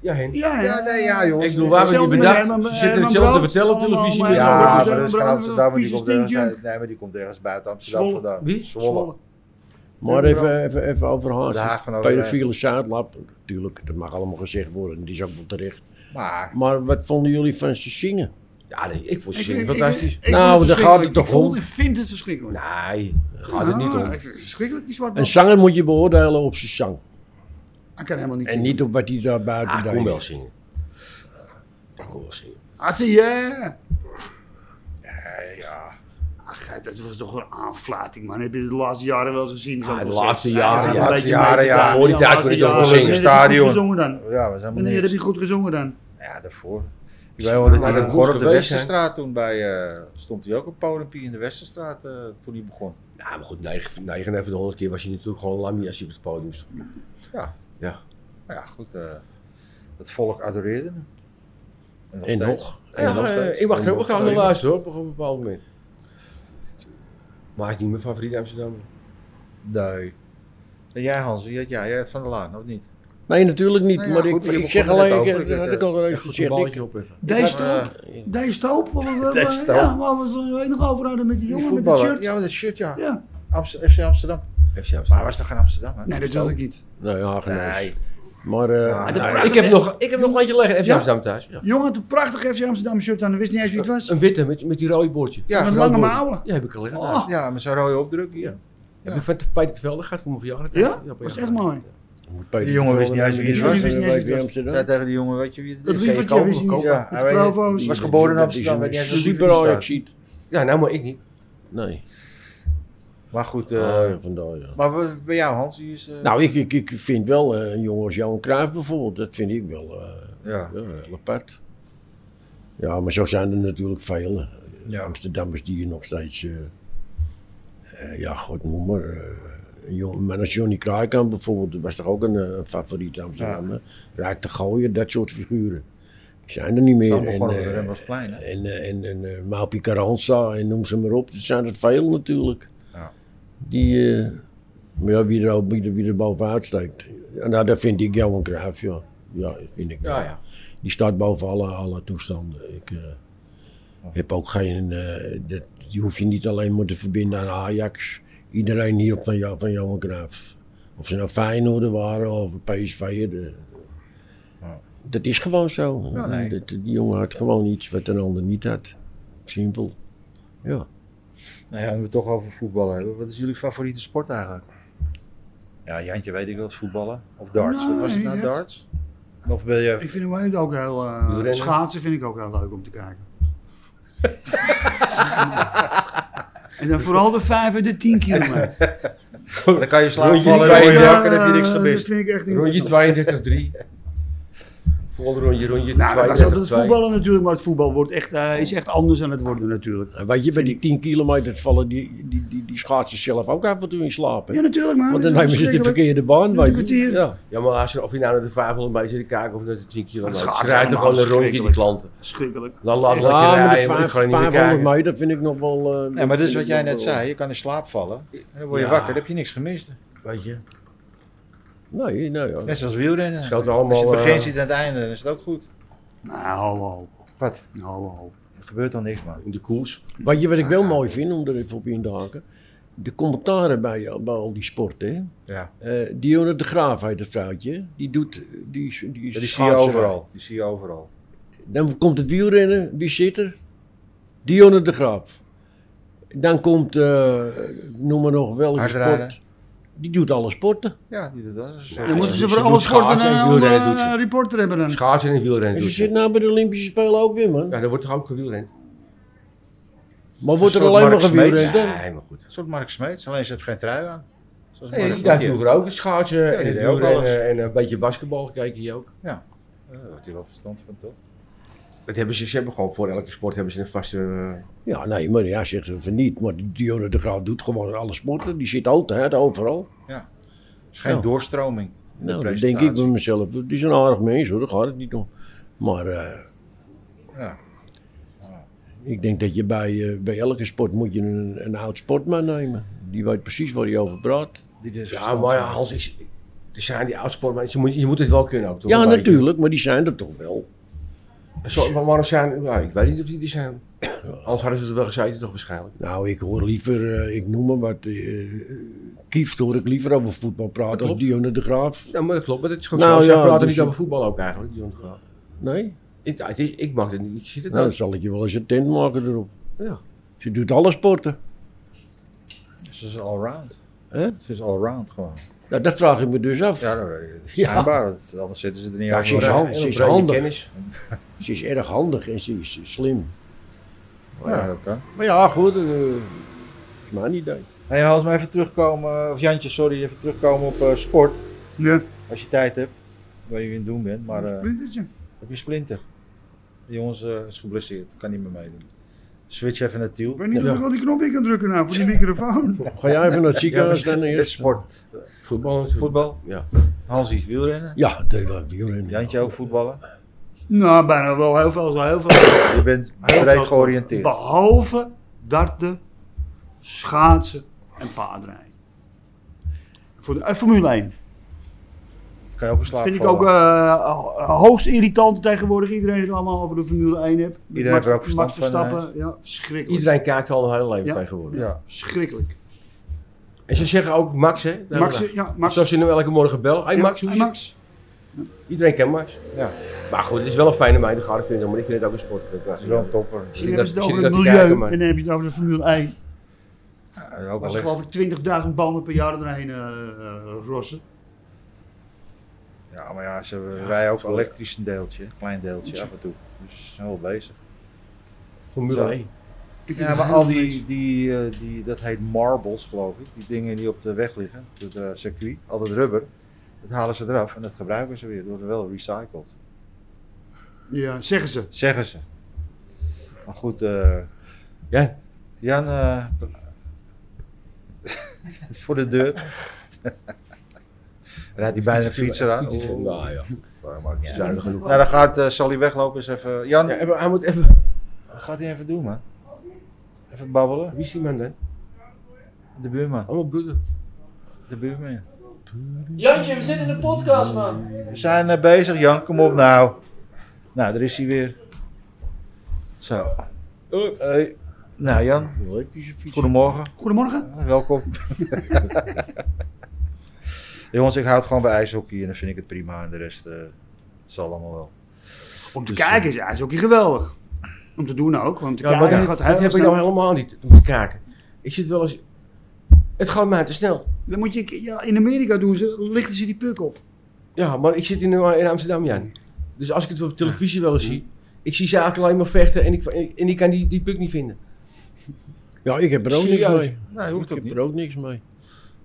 Ja, Henk. Ja, Ja, nee, ja, jongens. Ik bedoel, waar we niet Hetzelfde bedacht, met ze Herman- zitten Herman hetzelfde te eh, Brood. vertellen op televisie. Allemaal, eh, Ja, met zo'n- maar dat Ja, maar is dat is geen een Amsterdam, die vieze komt ergens stinkjunk. uit. Nee, maar die komt ergens buiten Amsterdam Zwolle. vandaan. Wie? Zwolle. Maar even, even, even over De Haag Haas. van Overijssel. Pedofiele zaadlap. Natuurlijk, dat mag allemaal gezegd worden. en Die is ook wel terecht. Maar, Maar wat vonden jullie van ze zingen? Ja, nee, ik vond Ik- ze ik- fantastisch. ik- ik Nou, vond het daar verschrikkelijk. gaat het toch Ik vond- om? Ik vind het verschrikkelijk. Nee, gaat Nou, het niet Ah, om. ik vind het verschrikkelijk, die zwarte Een man. zanger moet je beoordelen op zijn zang. Hij kan helemaal niet En niet op wat hij daar buiten Ah, ik deed. kon wel zingen. Ik kon wel zingen. Ah, zie je. Ja, ja. Ach, geit, dat was toch een aanflating, man. Heb je de laatste jaren wel eens gezien? Ah, zo'n de concert? laatste Ja, jaren, dat is ja, een laatste beetje jaren, mee te ja, gaan. voor die tijd laatste kon je toch wel jaren. zingen. Wanneer heb je goed Stadion. gezongen dan? ja, was helemaal Wanneer heb je niks. goed gezongen dan? Ja, daarvoor. Ik weet wel dat hij dat in moet Gorp de geweest zijn. Westerstraat toen bij... eh, stond hij ook op podiumpje in de Westerstraat eh, toen hij begon. Ja, maar goed, 9, 9 van de 100 keer was je natuurlijk gewoon lamie als je op het podium stond. Maar ja, goed. eh, het volk adoreerde En hem. steeds. nog. En nog eh, steeds. ik wacht er ook nog aan de steeds. luisteren hoor, op een bepaald moment. Maar hij is niet mijn favoriet Amsterdam. Nee. En jij Hans, jij, ja, jij hebt Van der Laan, of niet? Nee, natuurlijk niet. Nou ja, maar goed, ik, je ik zeg begon er net alleen, over, ik, dat ik, had eh, ik al eens Goed, een gezegd. Ik, balletje opheffen. Dijs eh, Toop? Dijs Toop? Wat- wat- Dijs wat- Toop. eh, Ja, waar we zo weet nog over hadden met die Die jongen met het voetballer. shirt. Ja, met dat shirt, ja. Ja. Amst- FC Amsterdam. FC Amsterdam. Maar hij was toch geen Amsterdam, hè? Nee, dat wil ik niet. Nou ja, genees. Nee. Maar eh, Ja, nee, dat- Maar Nou, ik, heb nog, ik heb nog eentje liggen, FC Ja. Amsterdam thuis. Ja. Jongen had een prachtig FC Amsterdam shirt aan. Hij wist niet eens wie het was. Een witte met, met die rode boordje. Ja, met groot lange doel. mouwen. Ja, heb ik al liggen. Oh. Ja, met zo'n rode opdruk. Ja. Heb ik van Peter de Velde gehad voor mijn verjaardag. Ja? een paar Was jaar echt mooi. geleden. moet Peter Die jongen wist Verwolde niet eens wie nemen, het die was. is Die wist niet eens wie bij het was. Ik Amsterdam. zei tegen die jongen, weet je wie dit Dat is? lievertje wist hij niet. Ja, Met hij de weet- provo's. die was geboren in Dat is Amsterdam, een weet niet eens hoe die Super staat. Ajaxiet. Ja, nou maar ik niet. Nee. Maar goed, eh, Ah, ja, vandaar, ja. maar wat- bij jou Hans, die is... eh, Nou, ik, ik, ik vind wel eh, een jongen als Johan Cruijff bijvoorbeeld, dat vind ik wel eh, ja. ja, heel apart. Ja, maar zo zijn er natuurlijk veel eh, Ja. Amsterdammers die je nog steeds, eh, eh, ja, god noem maar. eh, een jongen, maar als Johnny Kraaikamp bijvoorbeeld, dat was toch ook een eh, favoriet Amsterdammer. Raak te gooien, dat soort figuren. zijn er niet meer. Sam En, begonnen met eh, Rem was klein, hè? en, eh, en, en eh, Maupi Carranza en noem ze maar op. Dat zijn er veel natuurlijk. Ja. Die, eh, maar ja, wie, er, al- wie, er, wie er bovenuit steekt. Ja, Nou, dat vind ik Johan Cruijff, ja. Ja, dat vind ik wel. Ja, ja. Die staat boven alle, alle toestanden. Ik eh, Oh. heb ook geen... eh, dat, die hoef je niet alleen maar te verbinden aan Ajax. Iedereen hield van, Jo- van Johan Cruijff. Of ze nou Feyenoord waren of PSV'er. Ja. eh. Dat is gewoon zo. Ja, nee. Dat- die jongen had gewoon iets wat een ander niet had. Simpel. Ja. Nou ja, we het toch over voetballen hebben. Wat is jullie favoriete sport eigenlijk? Ja, Jantje weet ik wel, voetballen. Of darts. Nee, Wat was het nou, dat- darts? Of ben je... Ik vind hem het ook heel... eh, Wielrennen? schaatsen vind ik ook heel leuk om te kijken. en dan vooral de vijf en de tien kilometer. Dan kan je slaap Rondje vallen, twee, rondje ja, dak en heb je niks eh, Dat gemist. vind ik echt niet Rondje 32-3. Vol rondje, rondje Nou, dat was altijd 32 het voetballen natuurlijk, maar het voetbal wordt echt, eh, is echt anders aan het worden natuurlijk. En weet je, bij die 10 kilometer vallen die, die, die, die schaatsers zelf ook af en toe in slaap. hè? Ja, natuurlijk man. Want dat dan is nemen ze de verschrikkelijk. verkeerde baan. Dat is een weet je. kwartier. Ja. Ja, maar als je, of je nou naar de 500 meter zit te kijken of naar de 10 Maar kilometer. dat Ze gaat rijden toch gewoon een allemaal rondje, die klanten. Verschrikkelijk. Dan laat Ja, laat je maar de rijden, maar ik vijf- ga niet meer 500 kijken. meter vind ik nog wel... eh, Nee, maar dat is vind wat ik jij nog net wel- zei. Je kan in slaap vallen. En dan word je Ja. wakker, dan heb je niks gemist. Weet je, Nee, nou ja. Net zoals wielrennen. het geldt Als je allemaal... het begin eh, ziet en het einde, dan is het ook goed. Nou, hallo. Wat? Hallo. Er gebeurt dan niks, man. in de koers. Weet je wat ik Ah. wel mooi vind, om er even op in te haken? De commentaren bij, eh, bij al die sporten. hè? Ja, Eh, Dionne de Graaf heet het vrouwtje. hè? Die doet... Die, die, Ja, die zie je schaatsen. overal. Die zie je overal. Dan komt het wielrennen. Wie zit er? Dionne de Graaf. Dan komt, eh, noem maar nog welke Hardrijden. sport. Die doet alle sporten. Ja, die doet dat. Dat is- Dan moeten ze ze voor doet alle sporten schaatsen en een wielrennen eh, doet ze. een reporter hebben dan. Schaatsen en wielrennen En ze doen zit ze. nou bij de Olympische Spelen ook weer, man. Ja, dan wordt toch ook gewielrend? Maar wordt er soort alleen maar Mark Smeets. gewielrend? hè? Nee, maar goed. Een soort Mark Smeets, alleen ze heeft geen trui aan. Zoals Nee, Mark die deed Smeets. vroeger ook het schaatsen en die het deed ook alles. wielrennen en eh, een beetje basketbal keken hier ook. Ja, Eh, Daar heeft hij wel verstand van, toch? Dat hebben ze, ze hebben gewoon voor elke sport hebben ze een vaste... eh, Ja, nee, maar ja, zegt ze van niet. Maar Dionne de Graaf doet gewoon alle sporten. Die zit altijd, overal. Er is geen Ja. doorstroming. in Nou, de dat denk presentatie. ik bij mezelf. Die is een aardig mens hoor, daar gaat het niet om. Maar eh, Ja. ik denk dat je bij, eh, bij elke sport moet je een, een oud sportman nemen. Die weet precies waar hij over praat. Die er Ja, verstand maar ja, van Hans, ik, er zijn die oudsportmannen, je moet, je moet het wel kunnen ook. toch, ja, een beetje. natuurlijk, maar die zijn er toch wel. Zo, maar waarom zijn, nou, ik weet niet of die er zijn. Anders hadden ze het wel gezeten toch waarschijnlijk. Nou, ik hoor liever, eh, ik noem maar wat, eh Kieft hoor ik liever over voetbal praten dan klopt. Dionne de Graaf. Ja, maar dat klopt, maar dat is gewoon Nou zo. Zij ja, praten dus niet je- over voetbal ook eigenlijk, Jon. Nee? Ik, ja, het is- ik mag het niet, ik zie het Nou, nou. dan zal ik je wel eens een tent maken erop. Ja. Ze doet alle sporten. Ze is allround. Hè? Ze is allround gewoon. Nou, dat vraag ik me dus af. Ja, dat weet ik. Ja. Schijnbaar, dat- anders zitten ze er niet Ja, over. ze is, Ja, hand- heel ze is brede handig. kennis. Ze is erg handig en ze is slim. Ja, dat kan. Maar ja, goed, dat is mijn idee. Hey, Hans, maar even terugkomen, of Jantje, sorry, even terugkomen op eh, sport. Ja, Als je tijd hebt, waar je in het doen bent. Maar eh, splintertje. heb je splinter? Die jongens eh, is geblesseerd, kan niet meer meedoen. Switch even naar Tiel. Ik weet niet Ja. of ik wel die knop in kan drukken nou voor die microfoon. Ga jij even naar het ziekenhuis dan eerst? Sport, Voetbal natuurlijk. voetbal. Ja. Hansie, wielrennen. Ja, dat dat wielrennen. Jantje ook voetballen. nou, bijna wel heel veel. Heel veel Je bent heel breed veel- georiënteerd. Behalve darten, schaatsen en paardrijden. Voor de, eh, Formule 1. Kan je ook een Dat slaap vind ik ook eh, ho- hoogst irritant tegenwoordig. Iedereen het allemaal over de Formule 1 hebt. Met Iedereen heeft er ook verstand van, Verstappen, ja, verschrikkelijk. Iedereen kijkt al een hele leven Ja. tegenwoordig. Ja. Verschrikkelijk. En ze zeggen ook Max, hè? de Max, hele dag. ja, Max. Zoals ze hem elke morgen bellen. Hey Ja, Max, hoe hey, is het? Max. Iedereen kent Max. Ja. Maar goed, het is wel een fijne meid, dat vind ik, maar ik vind het ook een sport. Dat Dat is wel een topper. En dan hebben ze het over Zit ik het dat te kijken, milieu maar- en dan heb je het over de Formule 1. Ja, ook Maar wel ze licht. geloof ik 20.000 bomen per jaar erheen eh, eh, rossen. Ja, maar ja, ze hebben wij ook elektrisch een deeltje, een klein deeltje af en toe. Dus ze zijn wel bezig. Formule Zo. 1. Ik vind Ja, het maar heel al niks. die, die, eh, die, dat heet marbles geloof ik, die dingen die op de weg liggen, het eh, circuit, al dat rubber, dat halen ze eraf en dat gebruiken ze weer. Dat wordt wel recycled, Ja, zeggen ze. zeggen ze. Maar goed, eh, Ja. Jan, eh, voor de deur. Rijdt hij bijna een fietser aan? Fietsen, nou ja. eh, maakt niet uit. Zuinig genoeg. Nou, dan gaat eh, Sally weglopen eens even. Jan, Ja, even- hij moet even... Gaat hij even doen, man? even babbelen. Wie is die man dan? De buurman. Allemaal bloeden. De buurman. ja. Jantje, we zitten in de podcast, man. We zijn eh, bezig, Jan. Kom op nou. Nou, daar is hij weer. Zo. Hey. Nou, Jan. Elektrische fiets. Goedemorgen. Goedemorgen. Eh, Welkom. Jongens, ik houd gewoon bij ijshockey en dan vind ik het prima. En de rest eh, zal allemaal wel. Om te Dus, kijken is ijshockey geweldig. Om te doen ook. Om te Ja, kijken maar dat, gaat dat heel heb ik snel. nou helemaal niet. Om te kijken. Ik zit wel eens... Het gaat mij te snel. Dan moet je, ja, in Amerika doen ze, lichten ze die puk op. Ja, maar ik zit in, in Amsterdam, Jan. Dus als ik het op televisie wel eens zie... Ik zie ze eigenlijk alleen maar vechten en ik, en ik kan die, die puk niet vinden. Ja, ik heb er ook niks Serieus? mee. Nee, hoeft ook Ik niet. heb er ook niks mee.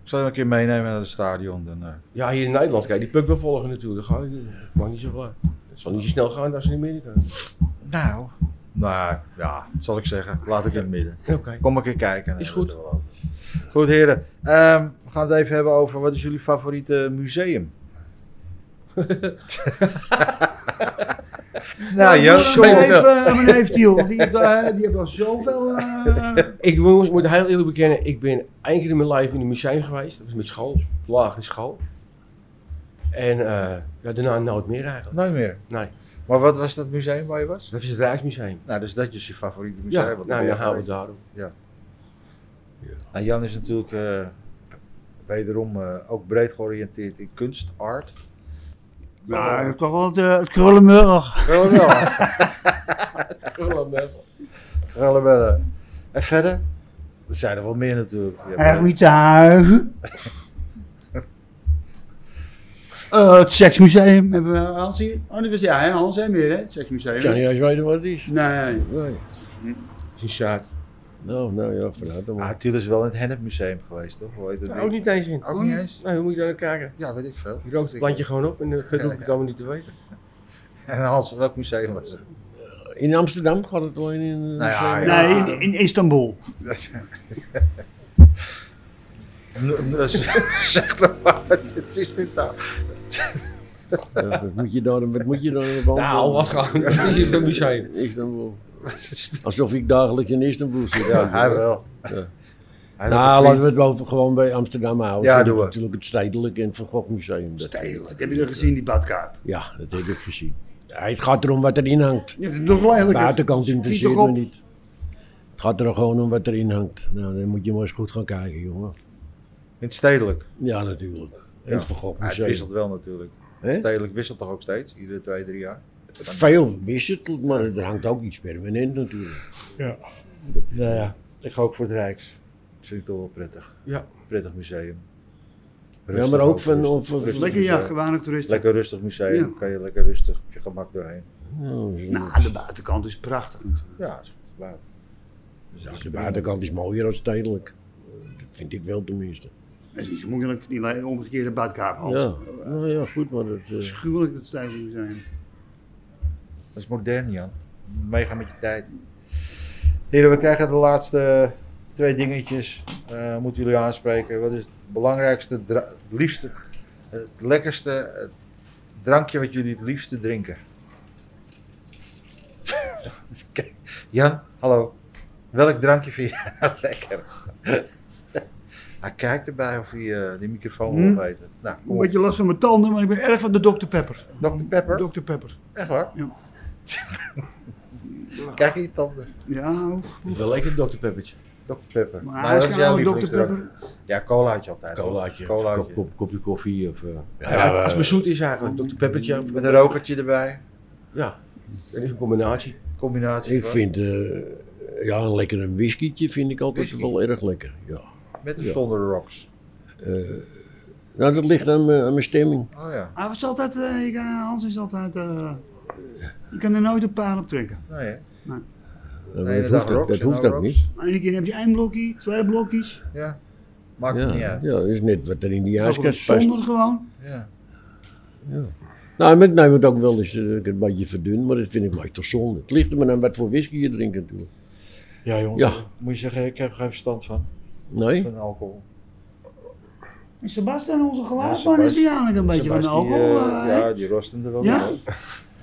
Ik zal je een keer meenemen naar het stadion. Dan, eh, Ja, hier in Nederland kan je die puk wel volgen natuurlijk. Dat gaat niet- dat mag niet zo ver. Het zal niet zo snel gaan als in Amerika. Nou. Nou, ja, dat zal ik zeggen. Laat ik in het midden. Oké. Kom een keer kijken. Nee, Is dat goed. doen we wel. Goed, heren. Ehm, we gaan het even hebben over wat is jullie favoriete museum? nou, Jan. Mijn sorry. neef, eh, mijn neef Tiel, die heeft daar- die heeft al zoveel... eh, Ik jongens, moet heel eerlijk bekennen, ik ben één keer in mijn leven in een museum geweest. Dat was met school, lagere school. En eh, ja, daarna nooit meer eigenlijk. Nooit meer. Nee, Maar wat was dat museum waar je was? dat is het Rijksmuseum. Nou, dus dat is je favoriete museum. Ja, want daar nou, ben dan je houden we geweest. het daarop. Nou, Jan is natuurlijk eh, wederom eh, ook breed georiënteerd in kunst, art. Nou, ik heb toch wel de, het krullenmurg. Gewoon wel. Groenland, Krullenbellen. En verder? Er zijn er wel meer natuurlijk. Je hebt, eh, Hermitage. Eh het seksmuseum hebben we Hans hier. Oh, dat was jij, hè? Hans en meer, hè? Het seksmuseum. Ik zou niet eens weten wat het is. Nee. Nee. Zijn zaad. Nou, nou ja, vanuit dan maar. Ah, Tiel is wel in het Hennepmuseum geweest, toch? Hoe heet dat Ook ding? niet eens in. Ook Nou, niet eens? Nee, hoe moet je daar naar kijken? Ja, weet ik veel. Je rookt het plantje gewoon op en eh, verder hoef ik het allemaal niet te weten. En Hans, welk museum was het? In Amsterdam gaat het alleen in eh, een Nou ja, museum. Nee, in, in Istanbul. N- n- zeg dan maar, het is dit nou. Ja, Wat moet je daar, wat moet je daar dan Nou, wat gewoon. Het is in het museum. Istanbul. Alsof ik dagelijks in Istanbul zit. Ja, hij wel. Hij Nou, doet een laten we het boven, gewoon bij Amsterdam houden. Ja, Vind doen ik we. natuurlijk het Stedelijk en het Van Gogh Museum. Dat- Stedelijk. Heb je dat gezien, die badkaap? Ja, dat heb ik gezien. Ja, het gaat erom wat erin hangt. Ja, dat is toch lelijk. De buitenkant Schiet interesseert toch me op. niet. Het gaat er gewoon om wat erin hangt. Nou, dan moet je maar eens goed gaan kijken, jongen. In het stedelijk. Ja, natuurlijk. En het Van Gogh Ja, het Museum. wisselt wel natuurlijk. Hè? Het stedelijk wisselt toch ook steeds? Iedere twee, drie jaar? Veel wisselt, maar er hangt ook iets permanent natuurlijk. Ja, ja. Ik ga ook voor het Rijks. Dat vind ik toch wel prettig. Ja. Prettig museum. ja, maar ook van... rustig. Of, of- Rustig. Lekker, ja, Museum. gewone toeristen. eh, Lekker rustig museum. Ja. Kan je lekker rustig op je gemak doorheen. Nou, Nou, de buitenkant is prachtig natuurlijk. Ja, is goed. Laat. Dus het is de buitenkant is mooier dan stedelijk. Dat vind ik wel tenminste. Dat is niet zo moeilijk, die le- omgekeerde badkaap. Hans. Ja, nou ja goed, maar dat... eh, Schuwelijk dat stedelijk museum. Dat is modern, Jan. Meegaan met je tijd. Heren, we krijgen de laatste twee dingetjes. eh, moeten jullie aanspreken. Wat is het belangrijkste, dra- het liefste, het lekkerste eh, drankje wat jullie het liefste drinken? Kijk, Jan, hallo. Welk drankje vind je nou lekker? hij kijkt erbij of hij eh, die microfoon Hm? wil weten. Nou, kom Een op. beetje last van mijn tanden, maar ik ben erg van de Dr. Pepper. Dr. Pepper? Dr. Pepper. Echt waar? Ja. Kijk in je tanden. Ja, oef. Het is wel lekker, Dr. Peppertje. Dr. Pepper. maar Nou, hij is dat geen jouw oude Dr. lievelingsdrankje. Pepper. Ja, cola had je altijd. Colaatje. Colaatje. Kop, kop- kopje koffie of... eh, ja, ja, als het maar zoet is eigenlijk, Dr. Peppertje. of- Met een rokertje erbij. Ja, dat is een combinatie. Combinatie Ik van- vind, eh, ja, een lekker een whiskietje vind ik altijd Whisky. wel erg lekker. Ja. Met of ja. zonder rocks. Nou, dat ligt aan mijn, aan mijn stemming. Oh ja. Hij was altijd, eh, je kan, Hans is altijd, eh, je kan er nooit een paal op trekken. Nou ja. Dat Nee, hoeft, inderdaad, ook- rocks dat en hoeft no ook rocks. niet. Eén keer heb je één blokje, twee blokjes. Ja. Maakt het niet Ja, uit. ja, dat is net wat er in die Ook wel huiskast past. Zonder gewoon. Ja. Nou, met mij wordt ook wel eens eh, een beetje verdun, maar dat vind ik maar toch zonde. Het ligt er maar aan wat voor whisky je drinkt natuurlijk. Ja jongens. eh, Ja. Moet je zeggen, ik heb er geen verstand van. Nee? Van alcohol. En Sebastian, onze geluidsman, Ja, is die eigenlijk een beetje van de Sebas, die, alcohol? eh, eh, ja, die rosten er wel Ja? weer op.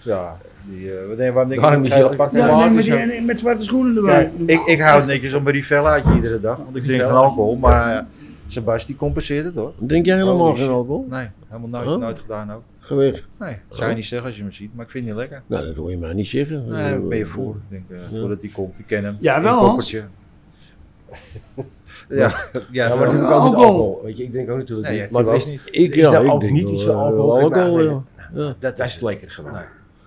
Ja, die, eh wat denk, waarom denk je Waarom dat is gele je- pak Ja, helemaal nee, met, niet die, zo- en met zwarte schoenen erbij. Kijk, ik, ik hou netjes om een rivellaatje iedere dag, want ik drink geen Rivellaatje. alcohol. Maar eh, Sebas, die compenseert het hoor. Drink jij helemaal Holy geen shit. alcohol? Nee, helemaal nooit, Oh. nooit gedaan ook. Ga weg. Nee, dat zou je niet zeggen als je me ziet, maar ik vind het niet lekker. Nou, dat hoor je mij niet zeggen. Nee, daar ben je voor. Ik denk, eh, Ja. voordat hij komt, ik ken hem. Ja, In wel, een Hans. pokkeltje. ja, ja, Ja, maar maar dat doe ik ook met alcohol. Weet je, ik drink ook natuurlijk Nee, niet. ja, maar die het was is, niet. Ik, Is ja, dat ik ook denk niet iets van wel, alcohol? eh, Ik alcohol, weet ja. Ja. Dat dat is is lekker. lekker gewoon.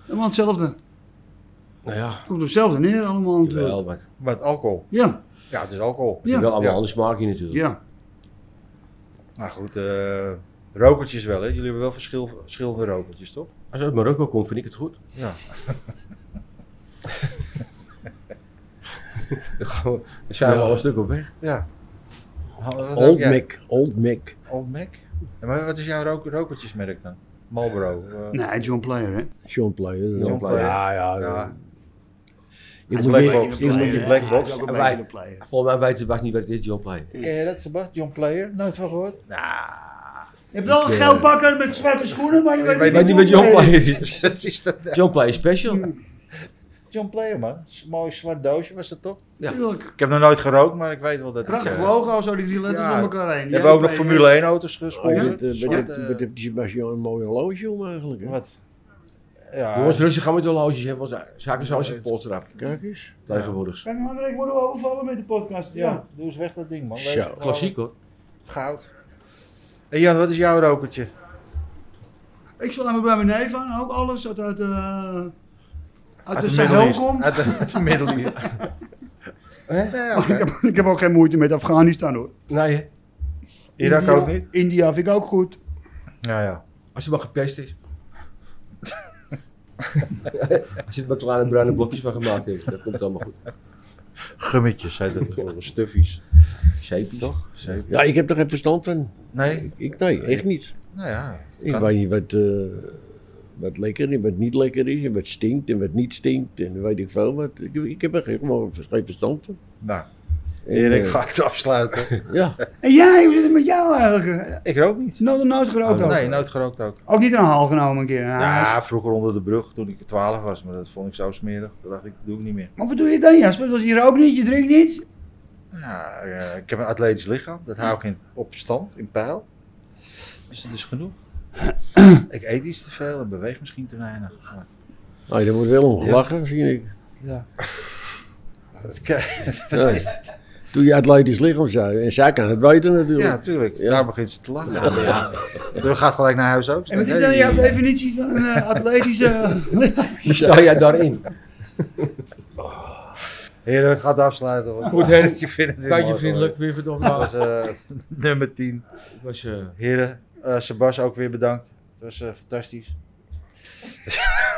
Allemaal hetzelfde. Nou ja, Komt op hetzelfde neer allemaal natuurlijk. wel, maar het Wat alcohol? Ja, Ja, het is alcohol. is Ja. eh, wel allemaal Ja. anders smaakje natuurlijk. ja. Nou goed, eh, rokertjes wel, hè? Jullie hebben wel verschil, verschillende rokertjes, toch? Als het uit Marokko komt, vind ik het goed. Ja. Dan gaan we- dan zijn we Ja. al een stuk op weg. Ja. Ha- wat heb Old jij? Mac, Old Mac. Old Mac? Ja, maar wat is jouw roker, rokertjesmerk dan? Marlboro. eh, Nee, John Player, hè. Sean Player. John Player. Ja, ja. Ja. Ik Hij is moet Black weer- Box. ik Hij is moet- een beetje Black Hij Box. is ook een En beetje wij- een player. Volgens mij weet Sebastian niet wat dit John Player is. Ken je dat, Sebastian? John Player? Nooit van gehoord? Je hebt wel een geel pakken met zwarte schoenen, maar je weet weet Weet niet niet wat wat John John Player is. Player is. dat is dat. John Player Special. John Player, man. S- Mooi zwart doosje was dat toch? Ja. Tuurlijk. Ik heb nog nooit gerookt, maar ik weet wel dat Prachtig eh, logo, zo die drie letters Ja. om elkaar heen. dus- We Die hebben ook nog Player Formule 1 auto's Oh, gesponsord. Wat eh, wat Zwart, heb- eh, wat heeft die Sebastian een mooi horloge om eigenlijk? hè? Wat? Ja, Jongens, rustig gaan met de horloges. hè, want eh, Zaken zoals je pols eraf. Kijk eens. Tegenwoordig. Kan Hendrik worden we overvallen met de podcast? Ja. ja, doe eens weg dat ding, man. Zo, Wees gewoon Klassiek hoor. Goud. Hey Jan, wat is jouw rokertje? Ik zal even bij mijn neef aan, ook alles wat uit, eh uit de het Sahel komt. Uit de, uit de Middeleeuwen. Nee, oké. Maar ik, heb, ik heb ook geen moeite met Afghanistan hoor. Nee, hè? Irak India- ook niet? India vind ik ook goed. Ja, ja. als het maar gepest is. als je het maar kleine bruine blokjes van gemaakt hebt, dan komt het allemaal goed. Gummetjes heet dat voor stuffies. Zeepjes. Toch? Zeker. Ja, ik heb er geen verstand van. Nee, Ik, nee, echt niet. nou ja. Ik kan. weet niet wat, eh, wat lekker en wat niet lekker is, en wat stinkt en wat niet stinkt, en weet ik veel wat. Ik, ik heb er geen, gewoon geen verstand van. Nou, En, Erik eh, gaat het afsluiten. Ja, En jij, hoe zit het met jou eigenlijk? ik rook niet. Nooit nooit gerookt ook. Oh, Nee, nooit gerookt ook. Ook niet een haal genomen een keer. Nou, Ja, vroeger onder de brug toen ik 12 was, maar dat vond ik zo smerig. Dat dacht ik, dat doe ik niet meer. Maar wat doe je dan Jasper? Want je rookt niet, je drinkt niet. Ja, eh, ik heb een atletisch lichaam, dat hou ik in, op stand, in peil. Dus dat is genoeg. ik eet iets te veel en beweeg misschien te weinig. Maar, Ah, daar wordt wel om gelachen, zie ik. ja. Dat Ja. Toen je atletisch lichaam zei, en zij kan het weten natuurlijk. Ja, natuurlijk. Ja. Daar begint ze te lachen. Ja. Dat gaat gelijk naar huis ook. En wat is dan jouw definitie van een eh, atletische... Hoe sta jij daarin? Heren, gaat afsluiten. hoor. Goed, Henk. je vindt het weer Kijk je mooi, vriendelijk weer verdomme. hoor. Dat maar was eh, nummer 10. Het was eh, Heren, eh Sebas ook weer bedankt. Het was eh, fantastisch.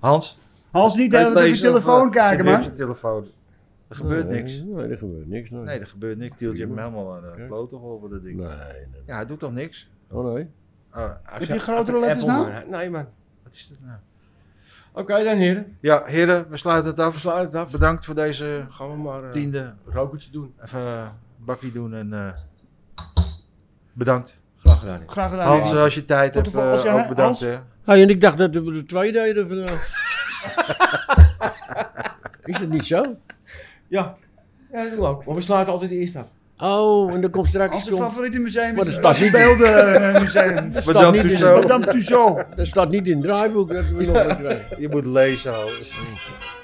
Hans, Hans niet kan je even op je lezen of, eh, telefoon zit kijken, weer op man. zijn telefoon. Er gebeurt Nee, niks. Nee, er gebeurt niks. Nee, Nee, nee. er gebeurt niks. Tieltje heeft me helemaal aan de klote geholpen, dat ding. nee. Ja, hij doet toch niks? Oh nee. Ah, hij- Heb je grotere letters Apple, nou? maar- Nee man. wat is dat nou? Oké dan heren, Ja, heren, we sluiten het we af. slaan het af. Bedankt voor deze Dan gaan we maar eh, tiende een rokertje doen. Even eh, bakkie doen en eh, bedankt. Graag gedaan heren. Graag gedaan. Hans, eh, als je tijd Tot hebt, Nou, de vol- als eh, je- ook bedankt. Hans- hè. Hey, en ik dacht dat we er twee deden vandaag. is dat niet zo? Ja. Ja, dat doen we ook. Maar we sluiten altijd eerst af. Oh, en dan komt straks... Onze favoriete museum Wat is eh, een stad. het Beeldenmuseum. Dat staat, Bedankt dus niet in, u zo. Madame Tussauds. dat staat niet in het draaiboek. Dat we nog wat krijgen. Je moet lezen, Hans.